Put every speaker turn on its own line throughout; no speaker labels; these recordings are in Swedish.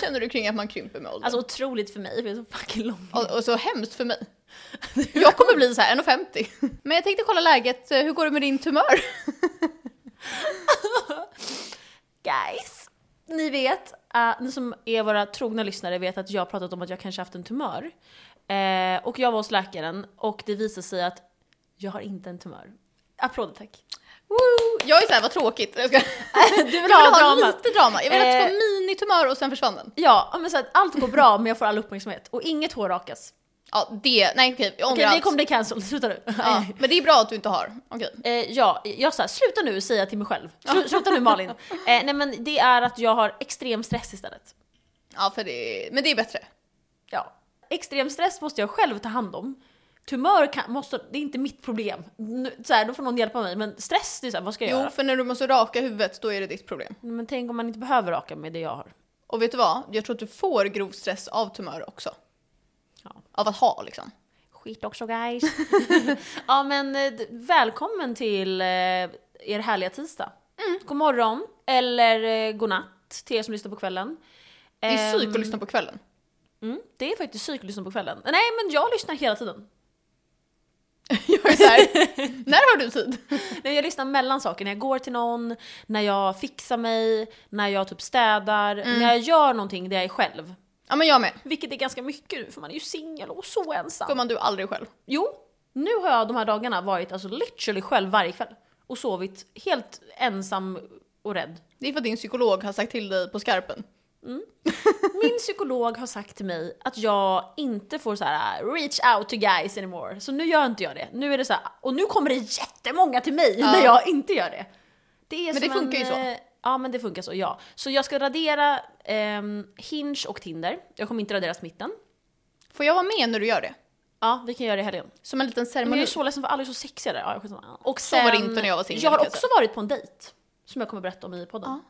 känner du kring att man krymper med åldern?
Alltså otroligt för mig, för jag är så fucking lång.
och, och så hemskt för mig. Jag kommer bli så här 1,50. Men jag tänkte kolla läget, Eh, hur går det med din tumör?
Guys! Ni vet, eh, ni som är våra trogna lyssnare vet att jag har pratat om att jag kanske haft en tumör. Eh, och jag var hos läkaren och det visade sig att jag har inte en tumör. Applåder tack.
Woo! Jag är såhär, vad tråkigt. Jag, ska...
Du vill
jag vill ha
dramat.
lite drama. Jag vill att det ska
Eh.
vara minitumör och sen försvann den.
Ja, ja, men så att allt går bra men jag får all uppmärksamhet och inget hår rakas.
Ja, det, nej okej, jag ångrar
Okej, det
allt.
kommer bli cancelled, sluta nu.
Ja, men det är bra att du inte har. Okej.
Eh, ja, jag sa sluta nu säga till mig själv. Slu, sluta nu Malin. Eh, nej men det är att jag har extrem stress istället.
Ja, för det, men det är bättre.
Ja. Extrem stress måste jag själv ta hand om. Tumör kan, måste, det är inte mitt problem. Nu, så här, då får någon hjälpa mig. Men stress, det är så här, vad ska jag
Jo,
göra?
för när du måste raka huvudet, då är det ditt problem.
Men tänk om man inte behöver raka med det jag har.
Och vet du vad? Jag tror att du får grov stress av tumör också.
Ja.
Av att ha liksom.
Skit också guys. ja men eh, d- välkommen till eh, er härliga tisdag. God morgon, eller eh, god natt till er som lyssnar på kvällen.
Det
Ehm.
är psyk att lyssna på kvällen.
Mm, det är faktiskt psyk att lyssna på kvällen. Nej men jag lyssnar hela tiden.
Jag är så här, när har du tid?
Nej, jag lyssnar mellan saker, när jag går till någon, när jag fixar mig, när jag typ städar, när jag gör någonting där jag är själv.
Ja men jag med.
Vilket är ganska mycket nu för man är ju singel och så ensam.
Går man du aldrig själv?
Jo, nu har jag de här dagarna varit alltså literally själv varje kväll. Och sovit helt ensam och rädd.
Det är för att din psykolog har sagt till dig på skarpen.
Min psykolog har sagt till mig att jag inte får så här "Ah, reach out to guys anymore. Så nu gör inte jag det. Nu är det så här, och nu kommer det jättemånga till mig
Ja.
när jag inte gör det. det är
Men det
som
funkar ju så.
eh, Ja men det funkar så, ja. Så jag ska radera ehm, Hinge och Tinder. Jag kommer inte radera smitten.
Får jag vara med när du gör det?
Ja, vi kan göra det i helgen.
Som en liten
Men jag
ceremoni?
är så ledsen för alla är så sexiga där. Ja, skitsamma. och
Så var det inte när jag var singel,
Jag har
kan jag
också varit på en dejt. Som jag kommer berätta om i podden.
Ja.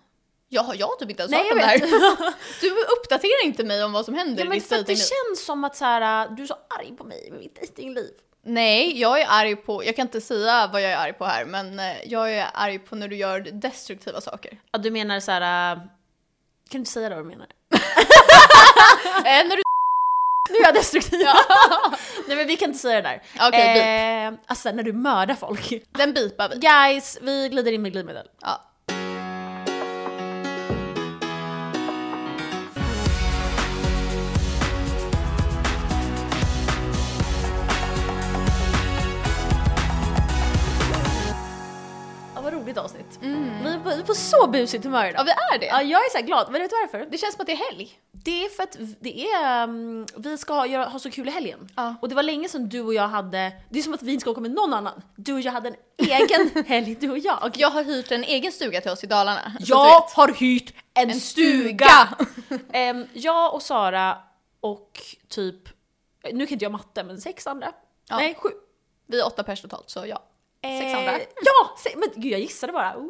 Jag har jag har typ inte ens
Nej
hört
jag
om det här.
vet.
Du uppdaterar inte mig om vad som händer
ja,
i
men
ditt
för att det
dejtingliv.
känns som att så här, du är så arg på mig med mitt dejtingliv.
Nej, jag är arg på, jag kan inte säga vad jag är arg på här, men eh, jag är arg på när du gör destruktiva saker.
Ja, du menar så här. äh, Kan du inte säga det vad du menar?
eh, när du...
Nu är jag destruktiv! Nej men vi kan inte säga det där.
Okej, beep.
eh, alltså när du mördar folk.
Den bipar vi.
Guys, vi glider in med glidmedel.
Ja.
Ja, vad roligt avsnitt. Vi är på, vi är på så busigt humör
ja,
idag.
vi är det.
Ja, jag är så här glad, men vet du varför?
Det känns som att det är helg.
Det är för att det är, um, vi ska ha, göra, ha så kul i helgen.
Ja.
Och det var länge sedan du och jag hade, det är som att vi inte ska åka med någon annan. Du och jag hade en egen helg, du och jag.
Jag har hyrt en egen stuga till oss i Dalarna. så typ- att du
Jag
vet.
har hyrt en,
En
stuga!
stuga!
Ehm, jag och Sara och typ, nu kan inte jag matte, men sex andra?
Ja.
Nej, sju.
Vi är åtta pers totalt, så ja. Sex
Ehm,
andra.
Ja! Se, men gud jag gissade bara. Wow!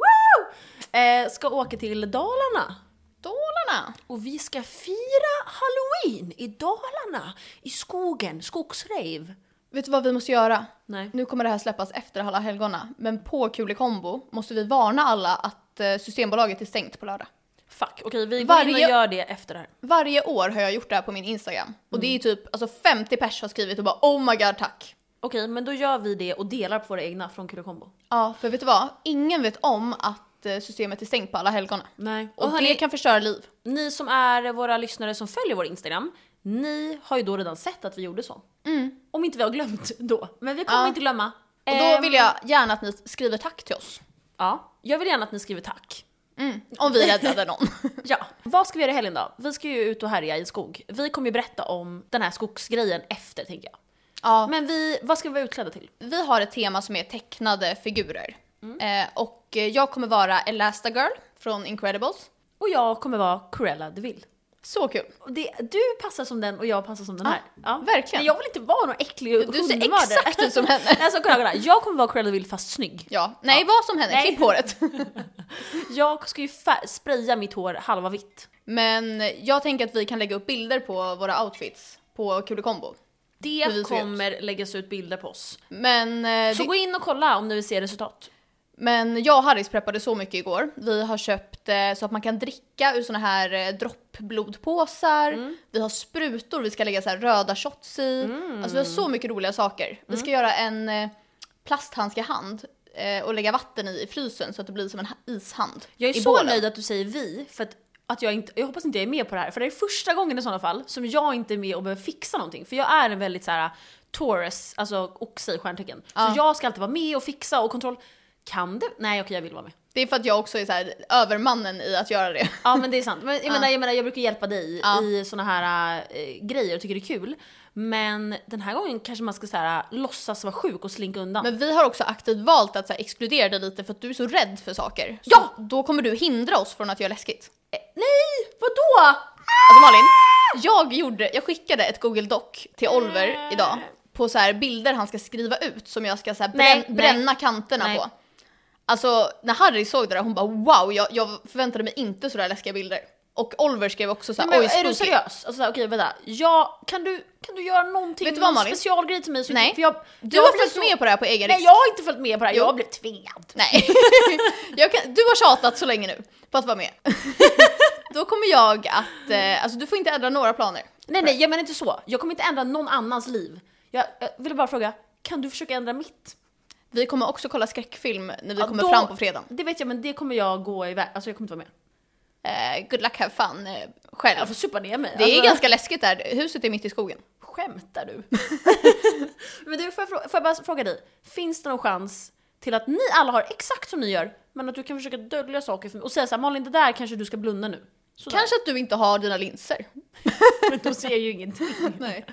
Ehm, ska åka till Dalarna.
Dalarna!
Och vi ska fira halloween i Dalarna, i skogen, skogsrave.
Vet du vad vi måste göra?
Nej.
Nu kommer det här släppas efter alla helgona, men på Kulikombo måste vi varna alla att eh, Systembolaget är stängt på lördag.
Fuck, okej vi går in och
Varje-
gör det efter det här.
Varje år har jag gjort det här på min Instagram och det är typ alltså 50 pers har skrivit och bara oh my god tack.
Okej, men då gör vi det och delar på våra egna från Kulekombo.
Ja, för vet du vad? Ingen vet om att eh, systemet är stängt på alla helgona.
Nej.
Och det kan förstöra liv.
Ni som är våra lyssnare som följer vår Instagram, ni har ju då redan sett att vi gjorde så. Om inte vi har glömt då. Men vi kommer
Mm. Ja.
inte glömma. Ehm,
Och då vill jag gärna att ni skriver tack till oss.
Ja, jag vill gärna att ni skriver tack.
Mm. Om vi räddade någon.
Ja. Vad ska vi göra i helgen då? Vi ska ju ut och härja i skog. Vi kommer ju berätta om den här skogsgrejen efter tänker jag.
ja.
Men vi, vad ska vi vara utklädda till?
Vi har ett tema som är tecknade figurer. Eh, och eh, jag kommer vara Elastigirl från Incredibles.
Och jag kommer vara Cruella de Vil.
Så kul!
Det, du passar som den och jag passar som den här. Ja.
verkligen.
Men jag vill inte vara någon äcklig
Du ser
hundmördare.
exakt ut som henne.
Alltså kolla, kolla. Jag kommer vara Cruella de Vil fast snygg.
Ja, nej vad som händer,
Nej.
klipp håret.
Jag ska ju fär- spraya mitt hår halva vitt.
Men jag tänker att vi kan lägga upp bilder på våra outfits på Kulikombo.
Det
Hur vi ser
kommer läggas ut bilder på oss.
Men, eh,
Så
det,
gå in och kolla om ni vill se resultat.
Men jag och Harris preppade så mycket igår. Vi har köpt eh, så att man kan dricka ur såna här eh, droppblodpåsar.
Mm.
Vi har sprutor vi ska lägga så här röda shots i.
Mm.
Alltså vi har så mycket roliga saker. Vi ska göra en eh, plasthandskehand eh, och lägga vatten i i frysen så att det blir som en ha- ishand.
Jag är
i
så
bålen.
nöjd att du säger vi, för att, att jag inte, jag hoppas inte jag är med på det här. För det är första gången i sådana fall som jag inte är med och behöver fixa någonting. För jag är en väldigt så här Taurus, alltså oxe i stjärntecken.
Ja.
Så jag ska alltid vara med och fixa och kontroll. Kan det? Nej okej jag vill vara med.
Det är för att jag också är så här övermannen i att göra det.
Ja men det är sant. Men jag, menar, jag menar jag brukar hjälpa dig i såna här eh, grejer och tycker det är kul. Men den här gången kanske man ska så här, låtsas vara sjuk och slinka undan.
Men vi har också aktivt valt att så här, exkludera dig lite för att du är så rädd för saker. Så
Ja!
Då kommer du hindra oss från att göra läskigt.
Eh, Nej! Vadå?
Alltså Malin,
Ah!
jag, gjorde, jag skickade ett Google Doc till Oliver idag på så här bilder han ska skriva ut som jag ska så här brän,
Nej, nej.
bränna kanterna
Nej.
på. Alltså när Harry såg det där hon bara wow, jag, jag förväntade mig inte sådär läskiga bilder. Och Oliver skrev också så här,
Men
oj
är
spooky."
du seriös? Alltså, så här, okej vänta, jag, kan, du, kan du göra någonting,
Vet du vad,
någon
Malin?
specialgrej till mig? Så
Nej.
För jag,
Du
jag
har
blir
följt
så-
med på det här på egen
Nej
risk.
jag har inte följt med på det här,
Jo.
jag blev tvingad.
Nej. jag kan, du har tjatat så länge nu på att vara med. Då kommer jag att, eh, alltså du får inte ändra några planer.
Nej nej jag menar inte så, jag kommer inte ändra någon annans liv. Jag, jag ville bara fråga, kan du försöka ändra mitt?
Vi kommer också kolla skräckfilm när vi
Ja,
kommer
då-
fram på fredagen.
Det vet jag men det kommer jag gå iväg, alltså jag kommer inte vara med.
Eh, good luck have fun eh, själv.
Jag får supa ner mig.
Det är
alltså,
ganska läskigt där, huset är mitt i skogen.
Skämtar du? men du, får jag, frå- får jag bara fråga dig, finns det någon chans till att ni alla har exakt som ni gör, men att du kan försöka dölja saker för mig och säga såhär Malin det där kanske du ska blunda nu. Sådär.
Kanske att du inte har dina linser.
Men då ser jag ju ingenting. Okej
Nej.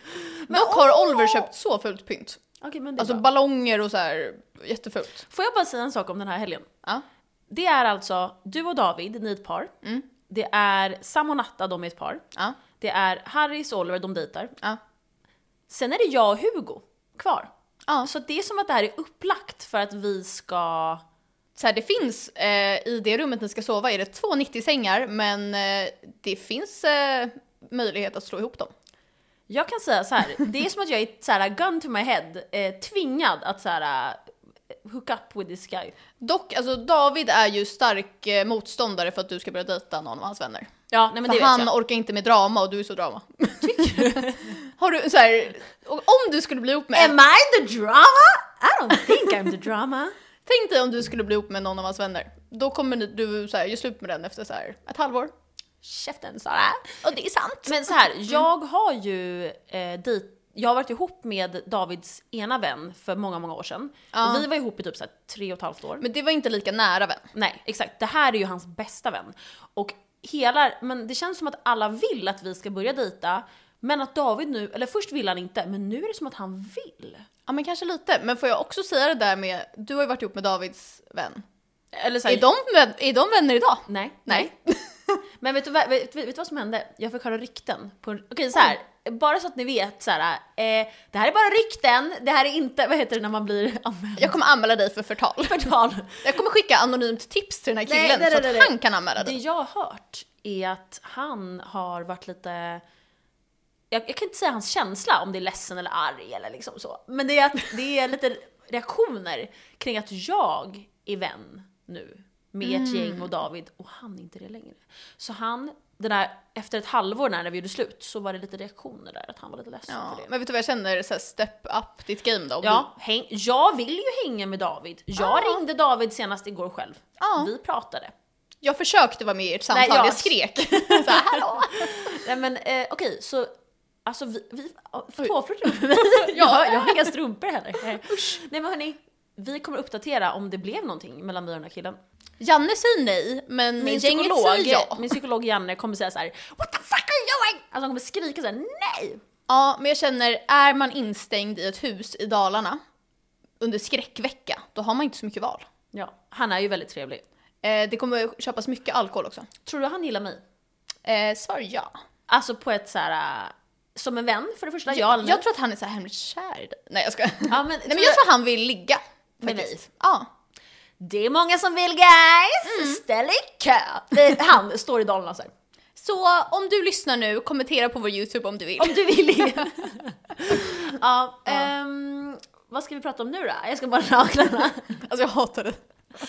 Dock har Oliver köpt så fult pynt.
men det är
Alltså
bra.
ballonger och så här, jättefult.
Får jag bara säga en sak om den här helgen?
Ja.
Det är alltså du och David, ni är ett par. Det är Sam och Natta, de är ett par.
Ja.
Det är Harris och Oliver, de dejtar.
Ja.
Sen är det jag och Hugo kvar.
Ja.
Så det är som att det här är upplagt för att vi ska...
Så här, det finns, eh, i det rummet ni ska sova är det två 90-sängar men eh, det finns eh, möjlighet att slå ihop dem.
Jag kan säga så här. det är som att jag är så här, gun to my head, eh, tvingad att så här, eh, hook up with this guy.
Dock, alltså David är ju stark eh, motståndare för att du ska börja dejta någon av hans vänner.
Ja, nej, men
för
det
han
vet jag.
orkar inte med drama och du är så drama. Tycker du? Har du så här, och om du skulle bli ihop med en
Am I the drama? I don't think I'm the drama.
Tänk dig om du skulle bli ihop med någon av hans vänner. Då kommer ni- du så här, göra slut med den efter så här, ett halvår.
Käften Sara.
Och det är sant.
Men så här, jag har ju eh, dit, jag har varit ihop med Davids ena vän för många, många år sedan.
Ja.
Och vi var ihop i typ så här, tre och ett halvt år.
Men det var inte lika nära vän.
Nej, exakt. Det här är ju hans bästa vän. Och hela, men det känns som att alla vill att vi ska börja dejta. Men att David nu, eller först vill han inte, men nu är det som att han vill.
Ja men kanske lite. Men får jag också säga det där med, du har ju varit ihop med Davids vän.
Eller så här,
Är de, vän- är de vänner idag?
Nej.
Nej.
Men vet du, vad- vet, vet du vad som hände? Jag fick höra rykten. På en, okej så här, bara så att ni vet så här, eh, det här är bara rykten, det här är inte, vad heter det när man blir anmäld?
Jag kommer anmäla dig för förtal.
Förtal.
Jag kommer skicka anonymt tips till den här
Nej,
killen
nej,
så
nej,
att
nej.
han kan anmäla
Det
dig.
jag har hört är att han har varit lite... Jag, jag kan inte säga hans känsla, om det är ledsen eller arg eller liksom så. Men det är, att, det är lite reaktioner kring att jag är vän nu med ett
Mm.
gäng och David och han är inte det längre. Så han, den där, efter ett halvår när vi gjorde slut så var det lite reaktioner där att han var lite ledsen
Ja,
för det.
men vet du vad jag känner? Så här, step up ditt game då.
Ja, häng, jag vill ju hänga med David. Jag
Ja.
ringde David senast igår själv.
Ja.
Vi pratade.
Jag försökte vara med i ert samtal,
Nej, jag-
jag skrek. Så här, hallå!
Nej men eh, okej, så alltså vi, vi
Oj.
tåflörtar med mig. ja, jag har inga strumpor heller. Nej. Nej men hörni, vi kommer uppdatera om det blev någonting mellan mig och den här killen.
Janne säger nej, men
Min
gänget
psykolog,
säger ja.
min psykolog Janne kommer säga så här: What the fuck are you doing? Alltså han kommer skrika så här: nej!
Ja, men jag känner, är man instängd i ett hus i Dalarna under skräckvecka, då har man inte så mycket val.
Ja, han är ju väldigt trevlig.
Eh, det kommer köpas mycket alkohol också.
Tror du han gillar mig?
Eh, svar ja.
Alltså på ett så här. eh, som en vän för det första, ja eller
Jag,
nej?
jag tror att han är så här hemligt kär i dig. Nej jag ska. Nej
Ja, men,
men jag tror han vill ligga.
Med
faktiskt. Ja.
Det är många som vill guys! Ställ i kö! Det- Han står i Dalarna så här.
Så om du lyssnar nu, kommentera på vår YouTube om du vill.
Om du vill ja, ehm, Vad ska vi prata om nu då? Jag ska bara naklarna.
Alltså jag hatar det.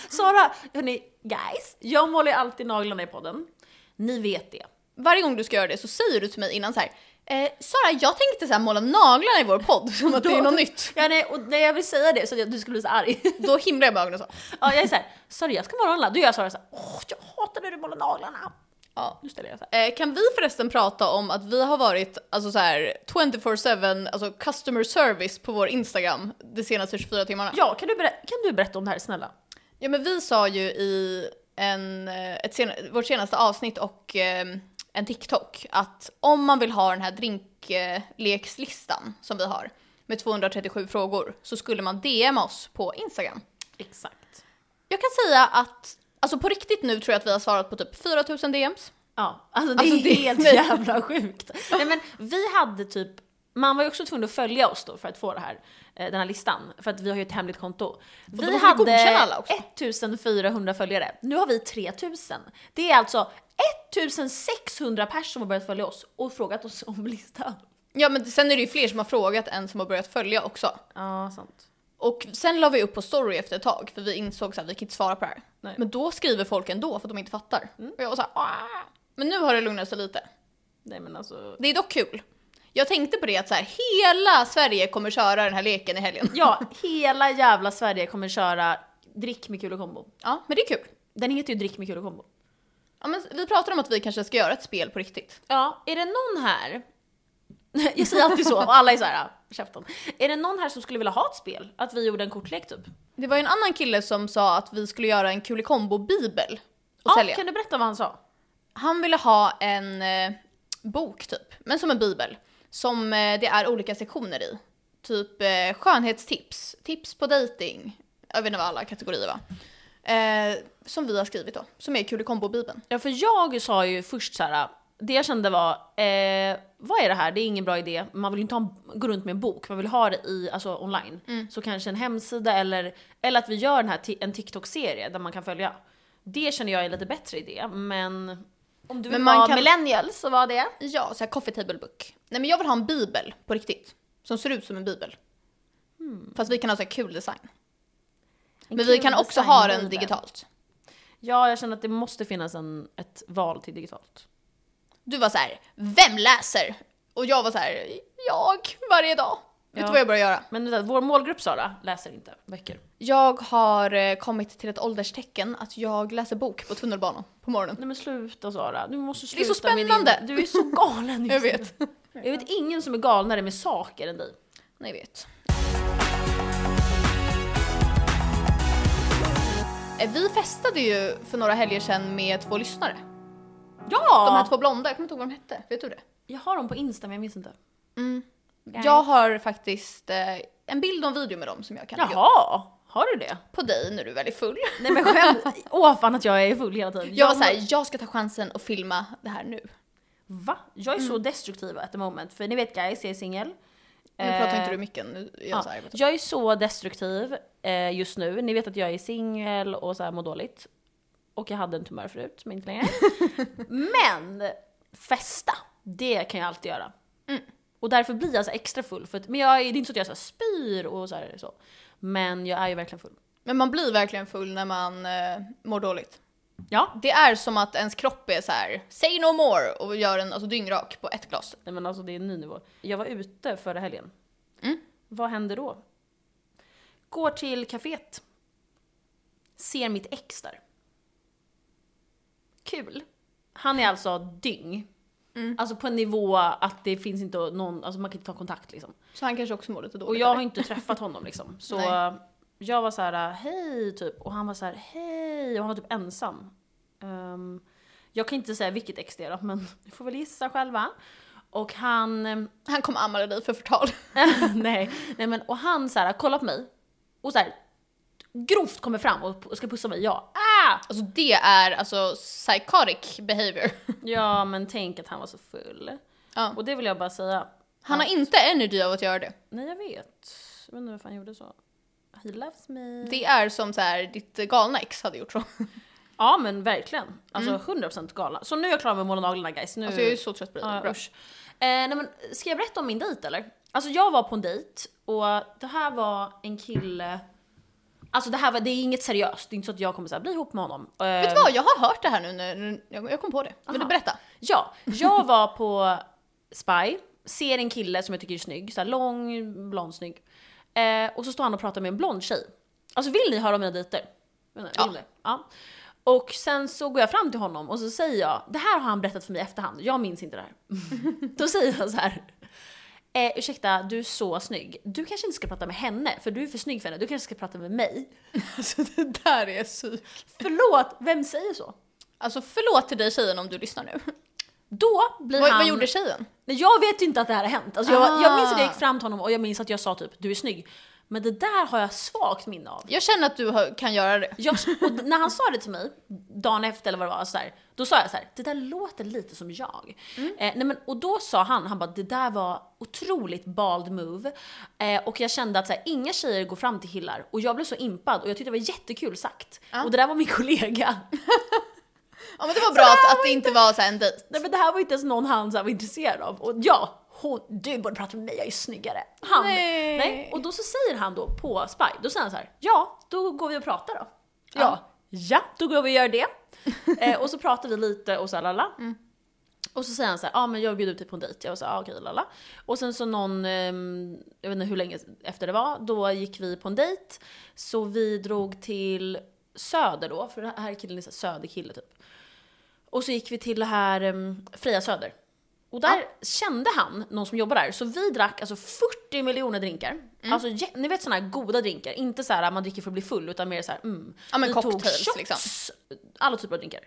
Sara, hörni, guys. Jag målar ju alltid naglarna i podden. Ni vet det.
Varje gång du ska göra det så säger du till mig innan så här. Eh, Sara, jag tänkte så här måla naglarna i vår podd som att det är något nytt.
Ja, nej, och när jag vill säga det så att jag- du skulle bli så arg.
Då himlar jag med ögonen och så.
Ja, jag är såhär, sorry jag ska måla naglarna. Då gör jag Sara såhär, åh jag hatar när du målar naglarna.
Ja.
Nu ställer jag såhär.
Eh, kan vi förresten prata om att vi har varit alltså så här 24-7 alltså customer service på vår Instagram de senaste 24 timmarna?
Ja, kan du, berä- kan du berätta om det här snälla?
Ja men vi sa ju i en, eh, ett sen, vårt senaste avsnitt och eh, en TikTok att om man vill ha den här drinklekslistan som vi har med 237 frågor så skulle man DM oss på Instagram.
Exakt.
Jag kan säga att, alltså på riktigt nu tror jag att vi har svarat på typ 4000 DMs.
Ja, alltså det
Alltså,
är
det-
helt
nej.
jävla sjukt. Nej men vi hade typ, man var ju också tvungen att följa oss då för att få det här, eh, den här listan. För att vi har ju ett hemligt konto.
då
Vi
måste vi godkänna alla
hade
också.
1400 följare, nu har vi 3000. Det är alltså 1600 personer som har börjat följa oss och frågat oss om listan.
Ja men sen är det ju fler som har frågat än som har börjat följa också.
Ja, sant.
Och sen la vi upp på story efter ett tag för vi insåg att vi kan inte svara på det här.
Nej.
Men då skriver folk ändå för att de inte fattar. Och jag var såhär "Ah." Men nu har det lugnat sig lite.
Nej men alltså,
Det är dock kul. Jag tänkte på det att så här, hela Sverige kommer köra den här leken i helgen.
Ja, hela jävla Sverige kommer köra Drick med kul och kombo.
Ja, men det är kul.
Den heter ju Drick med kul och kombo.
Ja, men vi pratade om att vi kanske ska göra ett spel på riktigt.
Ja, är det någon här... Jag säger alltid så, och alla är såhär, ah, käften. Är det någon här som skulle vilja ha ett spel? Att vi gjorde en kortlek typ?
Det var ju en annan kille som sa att vi skulle göra en Kulikombo-bibel och
Ja,
sälja.
kan du berätta vad han sa?
Han ville ha en eh, bok typ, men som en bibel. Som eh, det är olika sektioner i. Typ eh, skönhetstips, tips på dejting. Jag vet inte vad alla kategorier var. Eh, som vi har skrivit då, som är Kulikombo-bibeln.
Ja, för jag sa ju först så här. det jag kände var, eh, vad är det här? Det är ingen bra idé. Man vill ju inte ha en, gå runt med en bok, man vill ha det i, alltså online. Så kanske en hemsida eller, eller att vi gör den här, ti- en TikTok-serie där man kan följa. Det känner jag är en lite bättre idé, men om du vill
Men man
vara
kan-
millennial så var det.
Ja, så här coffee table book. Nej men jag vill ha en bibel på riktigt. Som ser ut som en bibel. Fast vi kan ha så här kul design. Men vi
Hmm. kul
kan också ha den
designbibel.
digitalt.
Ja, jag känner att det måste finnas en, ett val till digitalt.
Du var så här, vem läser? Och jag var så här, jag varje dag. Vet
Ja.
du vad jag började göra?
Men vänta, vår målgrupp Sara läser inte böcker.
Jag har eh, kommit till ett ålderstecken att jag läser bok på tunnelbanan på morgonen.
Nej men sluta Sara, du måste sluta
är så
med
spännande.
Din... Du är så galen
Jag
just nu.
vet.
Jag vet ingen som är galnare med saker än dig.
Nej, jag vet. Eh, Vi festade ju för några helger sedan med två lyssnare.
Ja!
De här två blonda, jag kommer inte ihåg vad de hette. Vet du det?
Jag har dem på Insta men jag minns inte. Nej.
Jag har faktiskt eh, en bild och en video med dem som jag kan lägga upp
Jaha, har du det?
på dig när du är väldigt full.
Nej men skämt. Åh fan att jag är full hela tiden.
Jag var såhär, jag ska ta chansen och filma det här nu.
Va? Jag är så
Mm.
destruktiv at the moment. För ni vet guys, jag är singel.
Nu pratar inte du i micken, nu är jag
Eh, Ja,
såhär. vet du.
jag är så destruktiv eh, just nu. Ni vet att jag är singel och så här mår dåligt. Och jag hade en tumör förut, men inte längre. men festa, det kan jag alltid göra. Och därför blir jag så här extra full. För att, men jag, är- det är inte så att jag så här spyr och så, här, så. Men jag är ju verkligen full.
Men man blir verkligen full när man eh, mår dåligt.
Ja.
Det är som att ens kropp är så här: say no more och gör en alltså, dyngrak på ett glas.
Nej, men alltså det är en ny nivå. Jag var ute förra helgen.
Mm.
Vad händer då? Går till kaféet. Ser mitt ex där. Kul. Han är alltså dyng.
Mm.
Alltså på en nivå att det finns inte någon, alltså man kan inte ta kontakt liksom.
Så han kanske också mår lite dåligt.
Och jag har
eller?
inte träffat honom liksom. Så
Nej.
jag var så här: hej typ. Och han var så här: hej. Och han var typ ensam. Ehm, jag kan inte säga vilket ex det är då, men ni får väl gissa själva. Och han, ehm,
Han kommer anmäla dig för förtal.
nej, nej men och han så här, kollar på mig. Och så här, grovt kommer fram och och ska pussa mig. Jag, ah!
Alltså det är alltså psychotic behavior.
Ja men tänk att han var så full.
Ja.
Och det vill jag bara säga.
Han har inte energy av att göra det.
Nej jag vet. Jag vet inte varför han gjorde så. He loves me.
Det är som så här, ditt galna ex hade gjort så.
Ja men verkligen. Alltså 100% galna. Så nu är jag klar med att måla naglarna guys. Nu...
Mm. Alltså jag är ju så trött på det.
Ja,
Bra.
usch. Eh, nej, men, ska jag berätta om min dejt eller? Alltså jag var på en dejt och det här var en kille Alltså det här var, det är inget seriöst, det är inte så att jag kommer så här, bli ihop med honom. Eh,
Vet du vad, jag har hört det här nu, nu, nu jag jag kom på det. Vill du
Aha.
berätta?
Ja, jag var på Spy, ser en kille som jag tycker är snygg, så här lång, blond, snygg. Eh, och så står han och pratar med en blond tjej. Alltså vill ni höra om mina dejter? Vill ni
Ja.
det? ja. Och sen så går jag fram till honom och så säger jag, det här har han berättat för mig i efterhand, jag minns inte det här. Då säger jag så här. Eh, ursäkta, du är så snygg. Du kanske inte ska prata med henne, för du är för snygg för henne. Du kanske ska prata med mig.
Alltså det där är psyk.
Förlåt, vem säger så?
Alltså förlåt till dig tjejen om du lyssnar nu.
Då blir
Vad,
han...
vad gjorde tjejen?
Nej, jag vet ju inte att det här har hänt. Alltså, jag, jag minns att jag
Ah.
gick fram till honom och jag minns att jag sa typ du är snygg. Men det där har jag svagt minne av.
Jag känner att du har, kan göra det.
Jag, och när han sa det till mig, dagen efter eller vad det var, så här, då sa jag så här, det där låter lite som jag. Eh, nej men, och då sa han, han bara, det där var otroligt bald move. Eh, och jag kände att så här, inga tjejer går fram till killar. Och jag blev så impad och jag tyckte det var jättekul sagt.
Ja.
Och det där var min kollega.
Ja men det var bra att, att det inte var så här en dejt.
Nej men det här var inte ens någon han så här var intresserad av. Och ja, hon, du borde prata med mig, jag är snyggare. Han,
Nej.
Och då så säger han då på Spy, då säger han så här, ja då går vi och pratar då.
Ja.
Ja, ja då går vi och gör det. eh, och så pratar vi lite och så här, lalla. Och så säger han så här, ja ah, men jag bjuder ut dig på en dejt. Jag var så här, ah, okej lalla. Och sen så någon, ehm, jag vet inte hur länge efter det var, då gick vi på en dejt. Så vi drog till Söder då, för den här killen är så här söderkille typ. Och så gick vi till det här ehm, Freja Söder. Och där kände han någon som jobbar där, så vi drack alltså 40 miljoner drinkar.
Mm.
Alltså jä- ni vet såna här goda drinkar, inte så här man dricker för att bli full utan mer så här mm.
Ja, men
vi
cocktails, liksom.
alla typer av drinkar.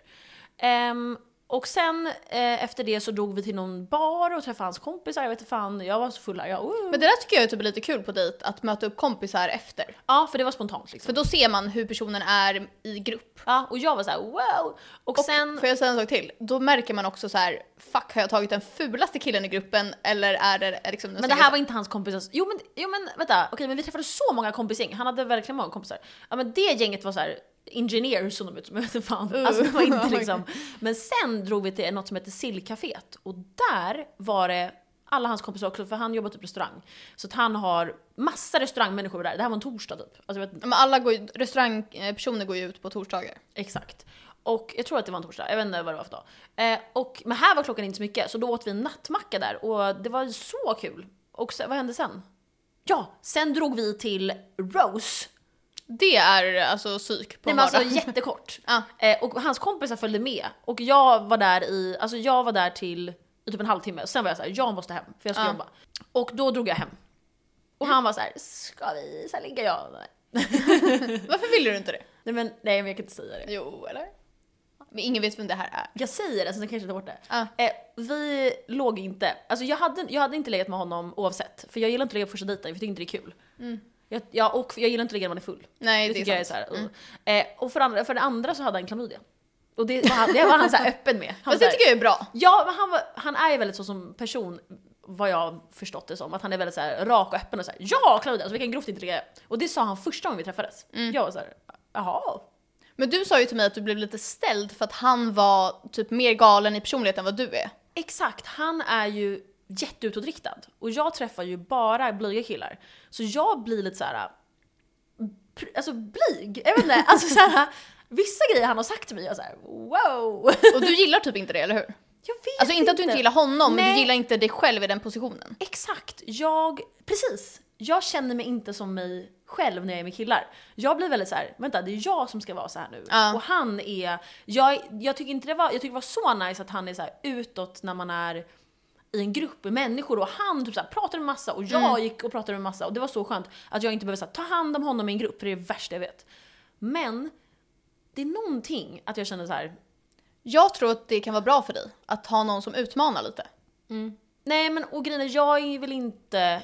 Ehm, och sen eh, efter det så drog vi till någon bar och träffade hans kompisar, jag vet inte fan, jag var så full här, jag, uh.
Men det där tycker jag är typ lite kul på dejt, att möta upp kompisar efter.
Ja för det var spontant liksom.
För då ser man hur personen är i grupp.
Ja, och jag var så här: wow! Och, sen,
Får jag säga en sak till? Då märker man också så här: fuck har jag tagit den fulaste killen i gruppen eller är det är liksom den
men det här var inte hans kompisars, jo men, jo, men vänta, okej men vi träffade så många kompisgäng, han hade verkligen många kompisar. Ja men det gänget var så här engineers som de ut som, jag vet inte fan.
Uh.
Alltså det var inte
Oh my
liksom. Men sen drog vi till något som heter Sillcaféet och där var det alla hans kompisar också, för han jobbar typ restaurang. Så att han har massa restaurangmänniskor där, det här var en torsdag typ. Alltså, jag vet,
Men alla går ju, restaurangpersoner går ju ut på torsdagar.
Exakt. Och jag tror att det var en torsdag, jag vet inte vad det var för dag. Eh, och, men här var klockan inte så mycket, så då åt vi en nattmacka där och det var så kul. Och sen, vad hände sen? Ja, sen drog vi till Rose.
Det är alltså psyk på
Nej
en
men alltså
vardag.
jättekort.
Ja.
Eh, och hans kompisar följde med och jag var där i, alltså jag var där till i typ en halvtimme och sen var jag så här, jag måste hem för jag ska
Ja.
jobba. Och då drog jag hem. Och han var så här, ska vi så här ligga? Jag bara,
Varför ville du inte det?
nej men, nej men jag kan inte säga det.
Jo, eller? Men ingen vet vem det här är.
Jag säger det, så sen kanske jag tar bort det.
Ah.
Eh, vi låg inte, alltså jag hade, jag hade inte legat med honom oavsett. För jag gillar inte att ligga på första dejten, jag tycker inte det är kul. Jag, jag, och jag gillar inte att ligga när man är full.
Nej,
det
Mm. det,
tycker jag
är
är
sant. Mm.
såhär, uh. eh, Och för, andra, för det andra så hade han klamydia. Och det var han, det var han såhär öppen med. Han var
Fast det
såhär-
tycker jag är bra.
Ja, men han, var, han är ju väldigt så som person, vad jag har förstått det som. Att han är väldigt så här rak och öppen och såhär “Ja Claudia, alltså, vilken grovt intrigg jag är." Och det sa han första gången vi träffades.
Mm.
Jag var såhär “Jaha?”
Men du sa ju till mig att du blev lite ställd för att han var typ mer galen i personlighet än vad du är.
Exakt, han är ju jätteutåtriktad. Och jag träffar ju bara blyga killar. Så jag blir lite så här. pr- Alltså blyg, jag vet inte. Alltså så här, vissa grejer han har sagt till mig, jag är så här, wow.
Och du gillar typ inte det, eller hur?
Jag vet
Alltså inte att du inte gillar honom, men
Nej.
du gillar inte dig själv i den positionen.
Exakt, jag, precis. Jag känner mig inte som mig själv när jag är med killar. Jag blir väldigt så här, vänta det är jag som ska vara så här nu.
Ja.
Och han är, jag, jag tycker inte det var, jag tycker det var så nice att han är så här utåt när man är i en grupp med människor och han typ så här, pratade med massa och jag gick och pratade med massa och det var så skönt att jag inte behöver så här, ta hand om honom i en grupp för det är det värsta jag vet. Men det är någonting att jag känner så här,
Jag tror att det kan vara bra för dig, att ha någon som utmanar lite.
Nej men och grejen är, jag är väl inte,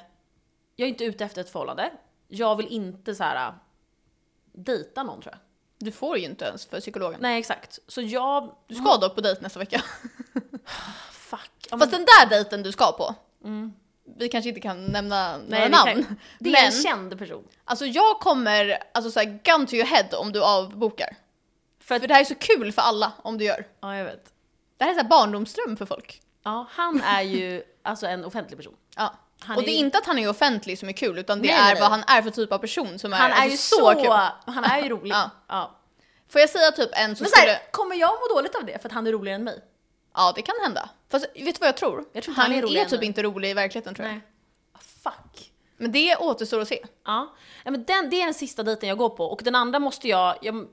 jag är inte ute efter ett förhållande. Jag vill inte så här äh, dejta någon tror jag.
Du får ju inte ens för psykologen.
Nej exakt. Så jag,
Du ska dock på dejt nästa vecka.
fuck. Mm. Ja, men, Mm.
Fast den där dejten du ska på, vi kanske inte kan nämna några
Nej, vi kan-
namn.
det är en
men
känd person.
alltså jag kommer, alltså såhär gun to your head om du avbokar. För, det här är så kul för alla om du gör.
Ja jag vet.
Det här är såhär barndomsdröm för folk.
Ja han är ju alltså en offentlig person.
Ja.
Han
Och det är inte att han är offentlig som är kul utan det
Nej,
är
nej,
vad
nej.
han är för typ av person som
han
är,
är
alltså,
ju
så,
så,
kul.
han är ju rolig.
Ja.
Ja.
Får jag säga typ en som
Men så här,
skulle...
kommer jag må dåligt av det för att han är roligare än mig?
Ja det kan hända. Fast vet du vad jag tror?
Jag tror inte
han,
han är rolig
är
än
typ
mig.
inte rolig i verkligheten tror jag.
Ah, Fuck.
Men det återstår att se.
Ja. Nej, men den, det är den sista dejten jag går på och den andra måste jag, jag,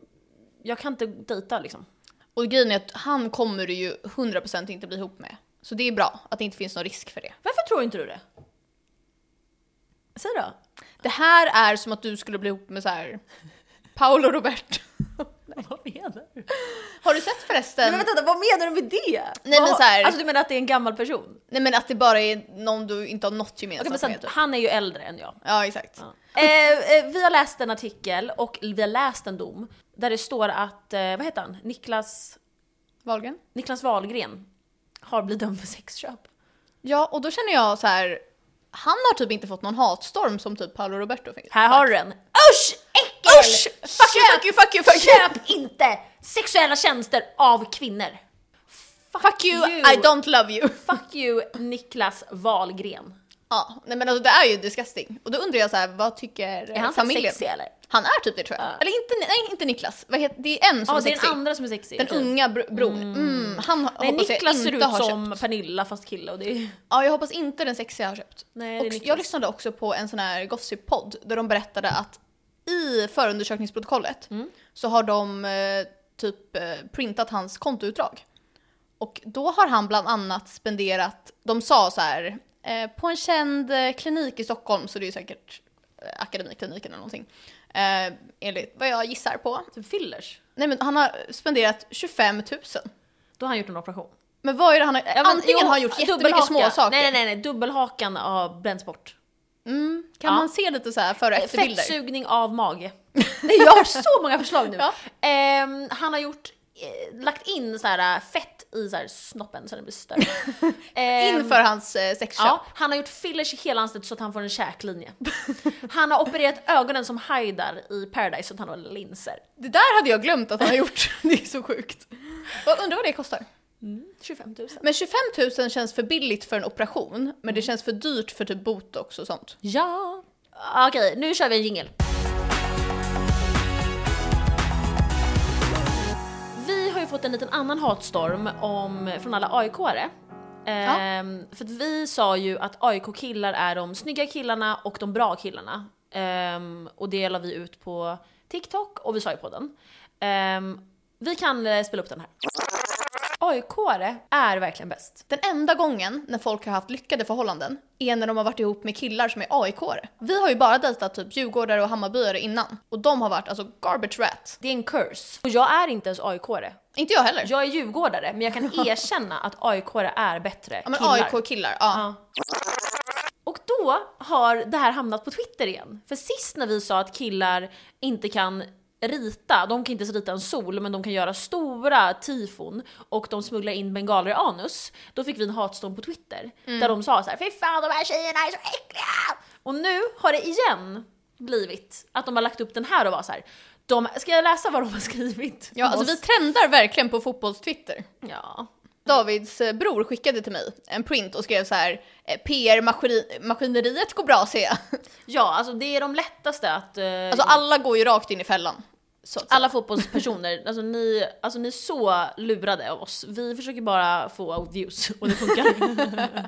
jag kan inte dejta liksom.
Och grejen är att han kommer du ju 100% inte bli ihop med. Så det är bra att det inte finns någon risk för det.
Varför tror inte du det? Säg då.
Det här är som att du skulle bli ihop med så här. Paolo Roberto.
Vad menar du?
Har du sett förresten?
Men vänta, vad menar du med det?
men
Vad-
så här-
Alltså du menar att det är en gammal person?
Nej men att det bara är någon du inte har något
Okej, men
gemensamt
så
med.
att
Typ.
han är ju äldre än jag.
Ja exakt.
Eh, eh, vi har läst en artikel och vi har läst en dom där det står att, eh, vad heter han, Niklas,
Wahlgren?
Niklas Wahlgren har blivit dömd för sexköp.
Ja och då känner jag så här. Han har typ inte fått någon hatstorm som typ Paolo Roberto fick.
Här har du den! Usch! Äckel!
Usch! Fuck you, fuck you, fuck you, fuck you!
Köp inte sexuella tjänster av kvinnor!
Fuck you, I don't love you!
Fuck you Niklas Wahlgren.
Ja, nej men alltså det är ju disgusting. Och då undrar jag så här, vad tycker
Är han så
familjen?
sexig eller?
Han är typ det tror jag. Eller inte, nej inte Niklas, vad heter, det är en som
Ja,
är
det är
sexig.
den andra som är sexig.
Den
typ.
unga br- bron. Mm, han ho-
Nej,
hoppas
Niklas
jag
ser
inte
ut
har
som
köpt.
Pernilla fast kille och det är...
Ja, jag hoppas inte den sexiga har köpt.
Nej, det är
och
Niklas.
jag lyssnade också på en sån här gossip-podd där de berättade att i förundersökningsprotokollet
Mm.
så har de eh, typ eh, printat hans kontoutdrag. Och då har han bland annat spenderat, de sa så här, eh, på en känd eh, klinik i Stockholm, så det är ju säkert eh, akademikliniken eller någonting. Eh, enligt vad jag gissar på.
Typ fillers.
Nej men han har spenderat 25 000.
Då har han gjort en operation.
Men vad är det han har,
Ja, men,
antingen
jo,
har han gjort
dubbelhaka.
jättemycket småsaker.
Nej, nej, nej, nej, dubbelhakan har bränts bort.
Mm, kan
Ja.
man se lite så här före och efterbilder?
Fettsugning av mage. Nej, jag har så många förslag nu.
Ja.
Ehm, han har gjort, eh, lagt in så här äh, fett i så här snoppen så den blir större. Ehm,
Inför hans eh, sexköp.
Ja, han har gjort fillers i hela ansiktet så att han får en käklinje. Han har opererat ögonen som Haidar i Paradise så att han har linser.
Det där hade jag glömt att han har gjort. det är så sjukt. Och undrar vad det kostar.
25 000.
Men 25 000 känns för billigt för en operation, men det känns för dyrt för typ botox och sånt.
Ja. Ah, Okej, nu kör vi en jingel. Vi har ju fått en liten annan hatstorm om, från alla AIK-are. Ehm, För att vi sa ju att AIK-killar är de snygga killarna och de bra killarna. Ehm, och det la vi ut på TikTok och vi sa i podden. Ehm, vi kan eh, spela upp den här. AIK-are är verkligen bäst.
Den enda gången när folk har haft lyckade förhållanden är när de har varit ihop med killar som är AIK-are. Vi har ju bara dejtat typ djurgårdare och hammarbyare innan och de har varit alltså garbage rat.
Det är en curse. Och jag är inte ens AIK-are.
Inte jag heller.
Jag är djurgårdare, men jag kan erkänna att AIK är bättre
ja men
killar.
AIK-killar, ja.
Ja. Och då har det här hamnat på Twitter igen. För sist när vi sa att killar inte kan rita, de kan inte ens rita en sol, men de kan göra stora tifon och de smugglar in bengaler i anus. Då fick vi en hatstorm på Twitter
Mm.
där de sa så här: fy fan de här tjejerna är så äckliga! Och nu har det igen blivit att de har lagt upp den här och var så här. De, ska jag läsa vad de har skrivit?
Ja, alltså vi trendar verkligen på fotbolls-Twitter.
Ja.
Davids eh, bror skickade till mig en print och skrev så här eh, PR-maskineriet går bra ser jag.
Ja, alltså det är de lättaste att... eh,
Alltså alla går ju rakt in i fällan. Så, att säga.
alla fotbollspersoner, alltså ni, alltså ni är så lurade av oss. Vi försöker bara få views och det funkar.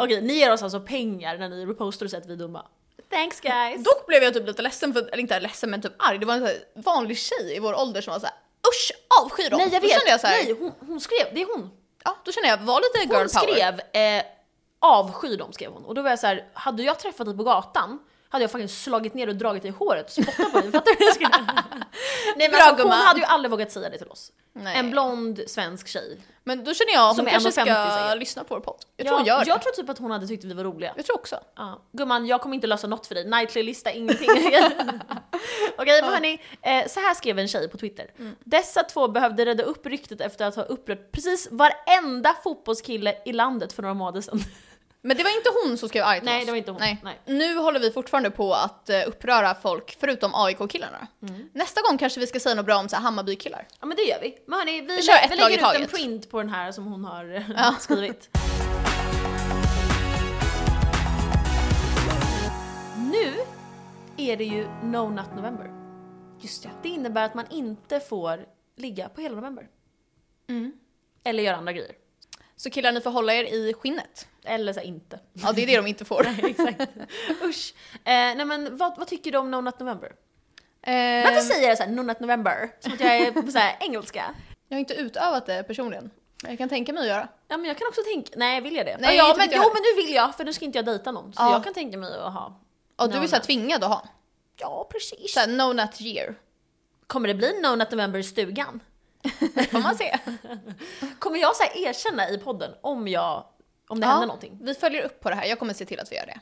Okej, ni ger oss alltså pengar när ni repostar och säger att vi är dumma. Thanks guys!
Dock blev jag typ lite ledsen, för, eller inte ledsen men typ arg. Det var en så här vanlig tjej i vår ålder som var så här usch avsky dem.
Nej jag
Då
vet,
kände jag så här,
nej hon, hon skrev, det är hon.
ja, då kände jag var lite girl
Hon
power.
skrev eh, avsky dem skrev hon. Och då var jag så här, hade jag träffat dig på gatan hade jag fucking slagit ner och dragit dig i håret och spottat på dig. Fattar du vad jag skulle Nej men
Bra,
alltså, hon
gumman.
hade ju aldrig vågat säga det till oss.
Nej.
En blond svensk tjej.
Men då känner jag hon
Som är
kanske
1,50
ska
säkert.
lyssna på vår podd. Jag tror hon gör
jag
det.
tror typ att hon hade tyckt att vi var roliga.
Jag tror också.
Ja. Gumman, jag kommer inte lösa något för dig. Nightly-lista, ingenting. Okej, men hörni. Eh, så här skrev en tjej på Twitter. Dessa två behövde rädda upp ryktet efter att ha upprört precis varenda fotbollskille i landet för några månader sedan.
Men det var inte hon som skrev arg till
Nej,
oss.
det var inte hon.
Nej.
Nej.
Nu håller vi fortfarande på att eh, uppröra folk, förutom AIK-killarna.
Mm.
Nästa gång kanske vi ska säga något bra om så här Hammarby-killar.
Ja men det gör vi. Men hörni, vi,
Vi kör ett
vi
lag i
lägger ut en
taget.
eh, print på den här som hon har skrivit. är det ju No Nut November.
Just det.
Det innebär att man inte får ligga på hela november.
Mm.
Eller göra andra grejer.
Så killar, ni får hålla er i skinnet.
Eller så här, inte.
Ja, det är det de inte får.
Exakt. Usch. Eh, nej men vad, vad tycker du om No Nut November? Varför
Eh,
säger jag såhär No Nut November? Som att jag är på så här engelska.
jag har inte utövat det personligen. Men Jag kan tänka mig att göra.
Ja men jag kan också tänka, nej vill jag det?
Nej,
ja,
typ
men,
inte jag
jo
heller.
men nu vill jag för nu ska inte jag dejta någon. Så
Ja.
jag kan tänka mig att ha.
Ja, du typ-
No
är så här
nut.
tvingad att ha.
Ja precis.
Så här, no nut year.
Kommer det bli No Nut November i stugan?
Det får man se.
Kommer jag så här erkänna i podden om jag, om det
Ja,
händer någonting?
Vi följer upp på det här, jag kommer se till att vi gör det.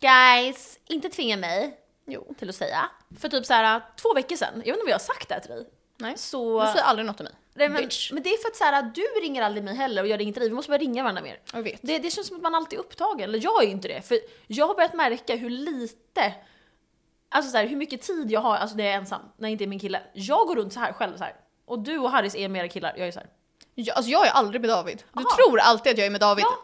Guys, inte tvinga mig
Jo.
till att säga. För typ så här två veckor sedan, jag vet inte om jag har sagt det här till dig.
Nej.
Så,
Du säger aldrig något om mig.
nej, men,
bitch.
men det är för att så här, du ringer aldrig mig heller och jag ringer inte dig, vi måste börja ringa varandra mer.
Jag vet.
Det, det känns som att man alltid är upptagen, eller jag är ju inte det. För jag har börjat märka hur lite, alltså så här, hur mycket tid jag har alltså när jag är ensam, när jag inte är min kille. Jag går runt så här själv så här. Och du och Harris är mera killar, jag är så här.
Jag, alltså jag är aldrig med David. Du
Aha.
tror alltid att jag är med David.
Ja.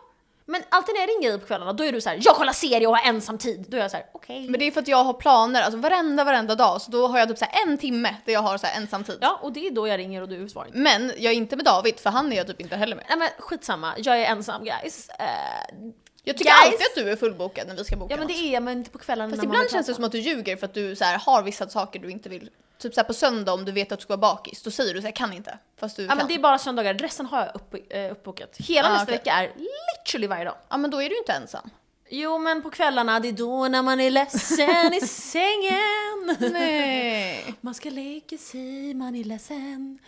Men alltid när jag ringer dig på kvällarna då är du så här: jag kollar serie och har ensam tid. Då är jag så här: okej.
Men det är för att jag har planer, alltså varenda, varenda dag. Så då har jag typ så här en timme där jag har så här ensam tid.
Ja, och det är då jag ringer och du svarar inte.
Men jag är inte med David, för han är jag typ inte heller med.
Nej men skitsamma, jag är ensam guys. Eh,
Jag tycker
Guys.
alltid att du är fullbokad när vi ska boka
ja men det
något.
är jag men inte på kvällarna
Fast
när man
ibland känns det som att du ljuger för att du så här, har vissa saker du inte vill. Typ så här på söndag om du vet att du ska vara bakis, då säger du så här, jag kan inte. Fast du
Ja
kan.
men det är bara söndagar, resten har jag upp, eh, uppbokat. Hela
Ah,
nästa
okej.
vecka är literally varje dag.
ja men då är du ju inte ensam.
Jo men på kvällarna, det är då när man är ledsen i sängen.
Nej.
Man ska lägga sig, man är ledsen.